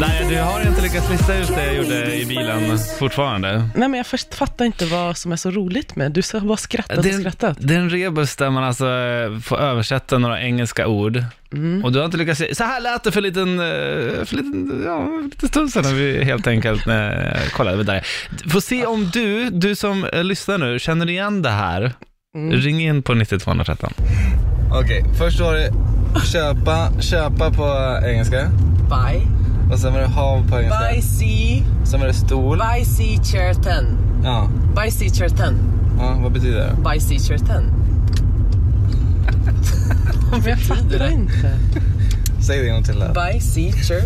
Nej, du har inte lyckats lista ut det jag gjorde i bilen fortfarande. Nej men jag först fattar inte vad som är så roligt med Du har bara skrattat Det och är, skrattat. det är en rebus där man alltså eh, får översätta några engelska ord. Mm. Och du har inte lyckats se, så här lät det för liten, eh, för liten, ja, för lite stund sedan när vi helt enkelt när jag kollade vidare. Får se om du, du som eh, lyssnar nu, känner igen det här. Mm. Ring in på 90213. Okej, först var det köpa, köpa på engelska. Buy, Och sen var det hav på engelska. buy sea, Sen var det stol. buy sea chair 10. Ja, Buy sea chair 10. ja, vad betyder det? Buy sea chair 10. Men jag fattar inte. Säg det en gång till då. Buy sea chair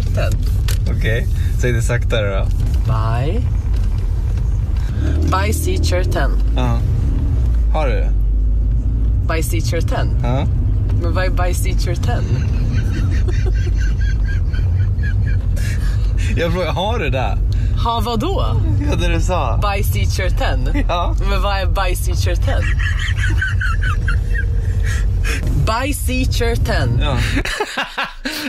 10. Okej, säg det saktare då. Buy. Buy sea chair 10. Ja. Har du det? Buy sea chair 10. Ja. Men vad är buy sea chair 10? Jag frågar, har du det? Ha vadå? Ja, det du sa. Buy sea chair 10. Ja. Men vad är buy sea chair 10? Buy sea chair 10. Ja.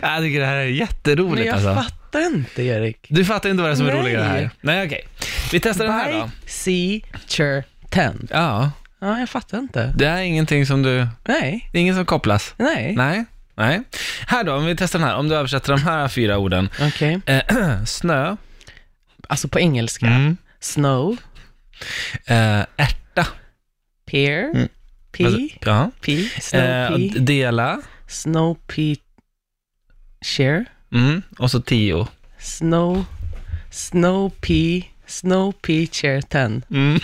Jag tycker det här är Men jätteroligt jag alltså. fattar inte Erik. Du fattar inte vad det är som är Nej. roligt i det här? Nej, okej. Vi testar den här By då. sea chair 10. Ja, Ja, jag fattar inte. det är ingenting som du, Nej, det är ingen som kopplas. nej. Nej, nej. Här då, om vi testar den här, om du översätter de här fyra orden. Okej. Eh, snö, Alltså på engelska. Mm. Snow, eh, ärta, pear, Mm. pea, Alltså, ja. pea, snow eh, pea, dela, snow pea, share, mm. och så tio. snow, snow pea, snow pea chair 10. Mm.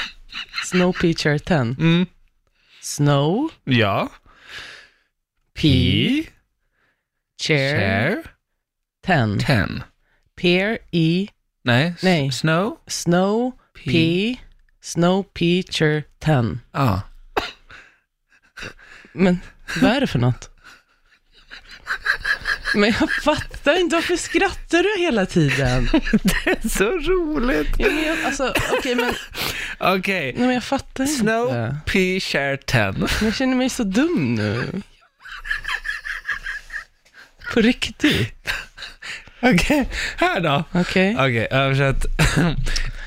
Snow pea chair 10. Mm. Snow Ja. pea I, chair share, 10. ten. Pear e, Nej, s- Nej. snow, snow pea, snow pea chair 10. ja. Men vad är det för något? Men jag fattar inte, varför skrattar du hela tiden? Så roligt. Ja, men jag, alltså, okej, men, Okej, nej, men jag fattar inte. snow, pea, share, ten. Men jag känner mig så dum nu. På riktigt. Okej, här då. Okej. Okej, översätt.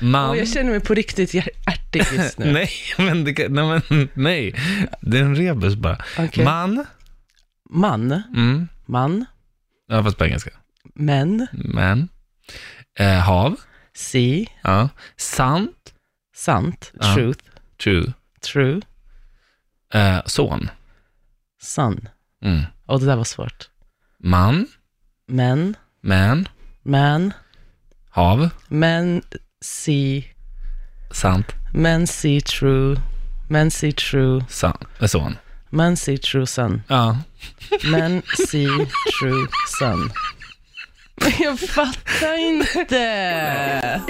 Man. Och jag känner mig på riktigt hjär- ärtig just nu. Nej, men det, kan- nej, men, nej, det är en rebus bara. Okej. Man, Man, mm, man, ja, fast på engelska. men, Men, eh, hav, si, ja. sant, sant, Ja. truth, true, true, eh, son, sun. mm. Och det där var svårt. man, Men, men, man, hav, men, si, sant, men, si, true, men, si, true, san, eh, son. men, si, true, sun. Ja. Men see true sun. Jag fattar inte.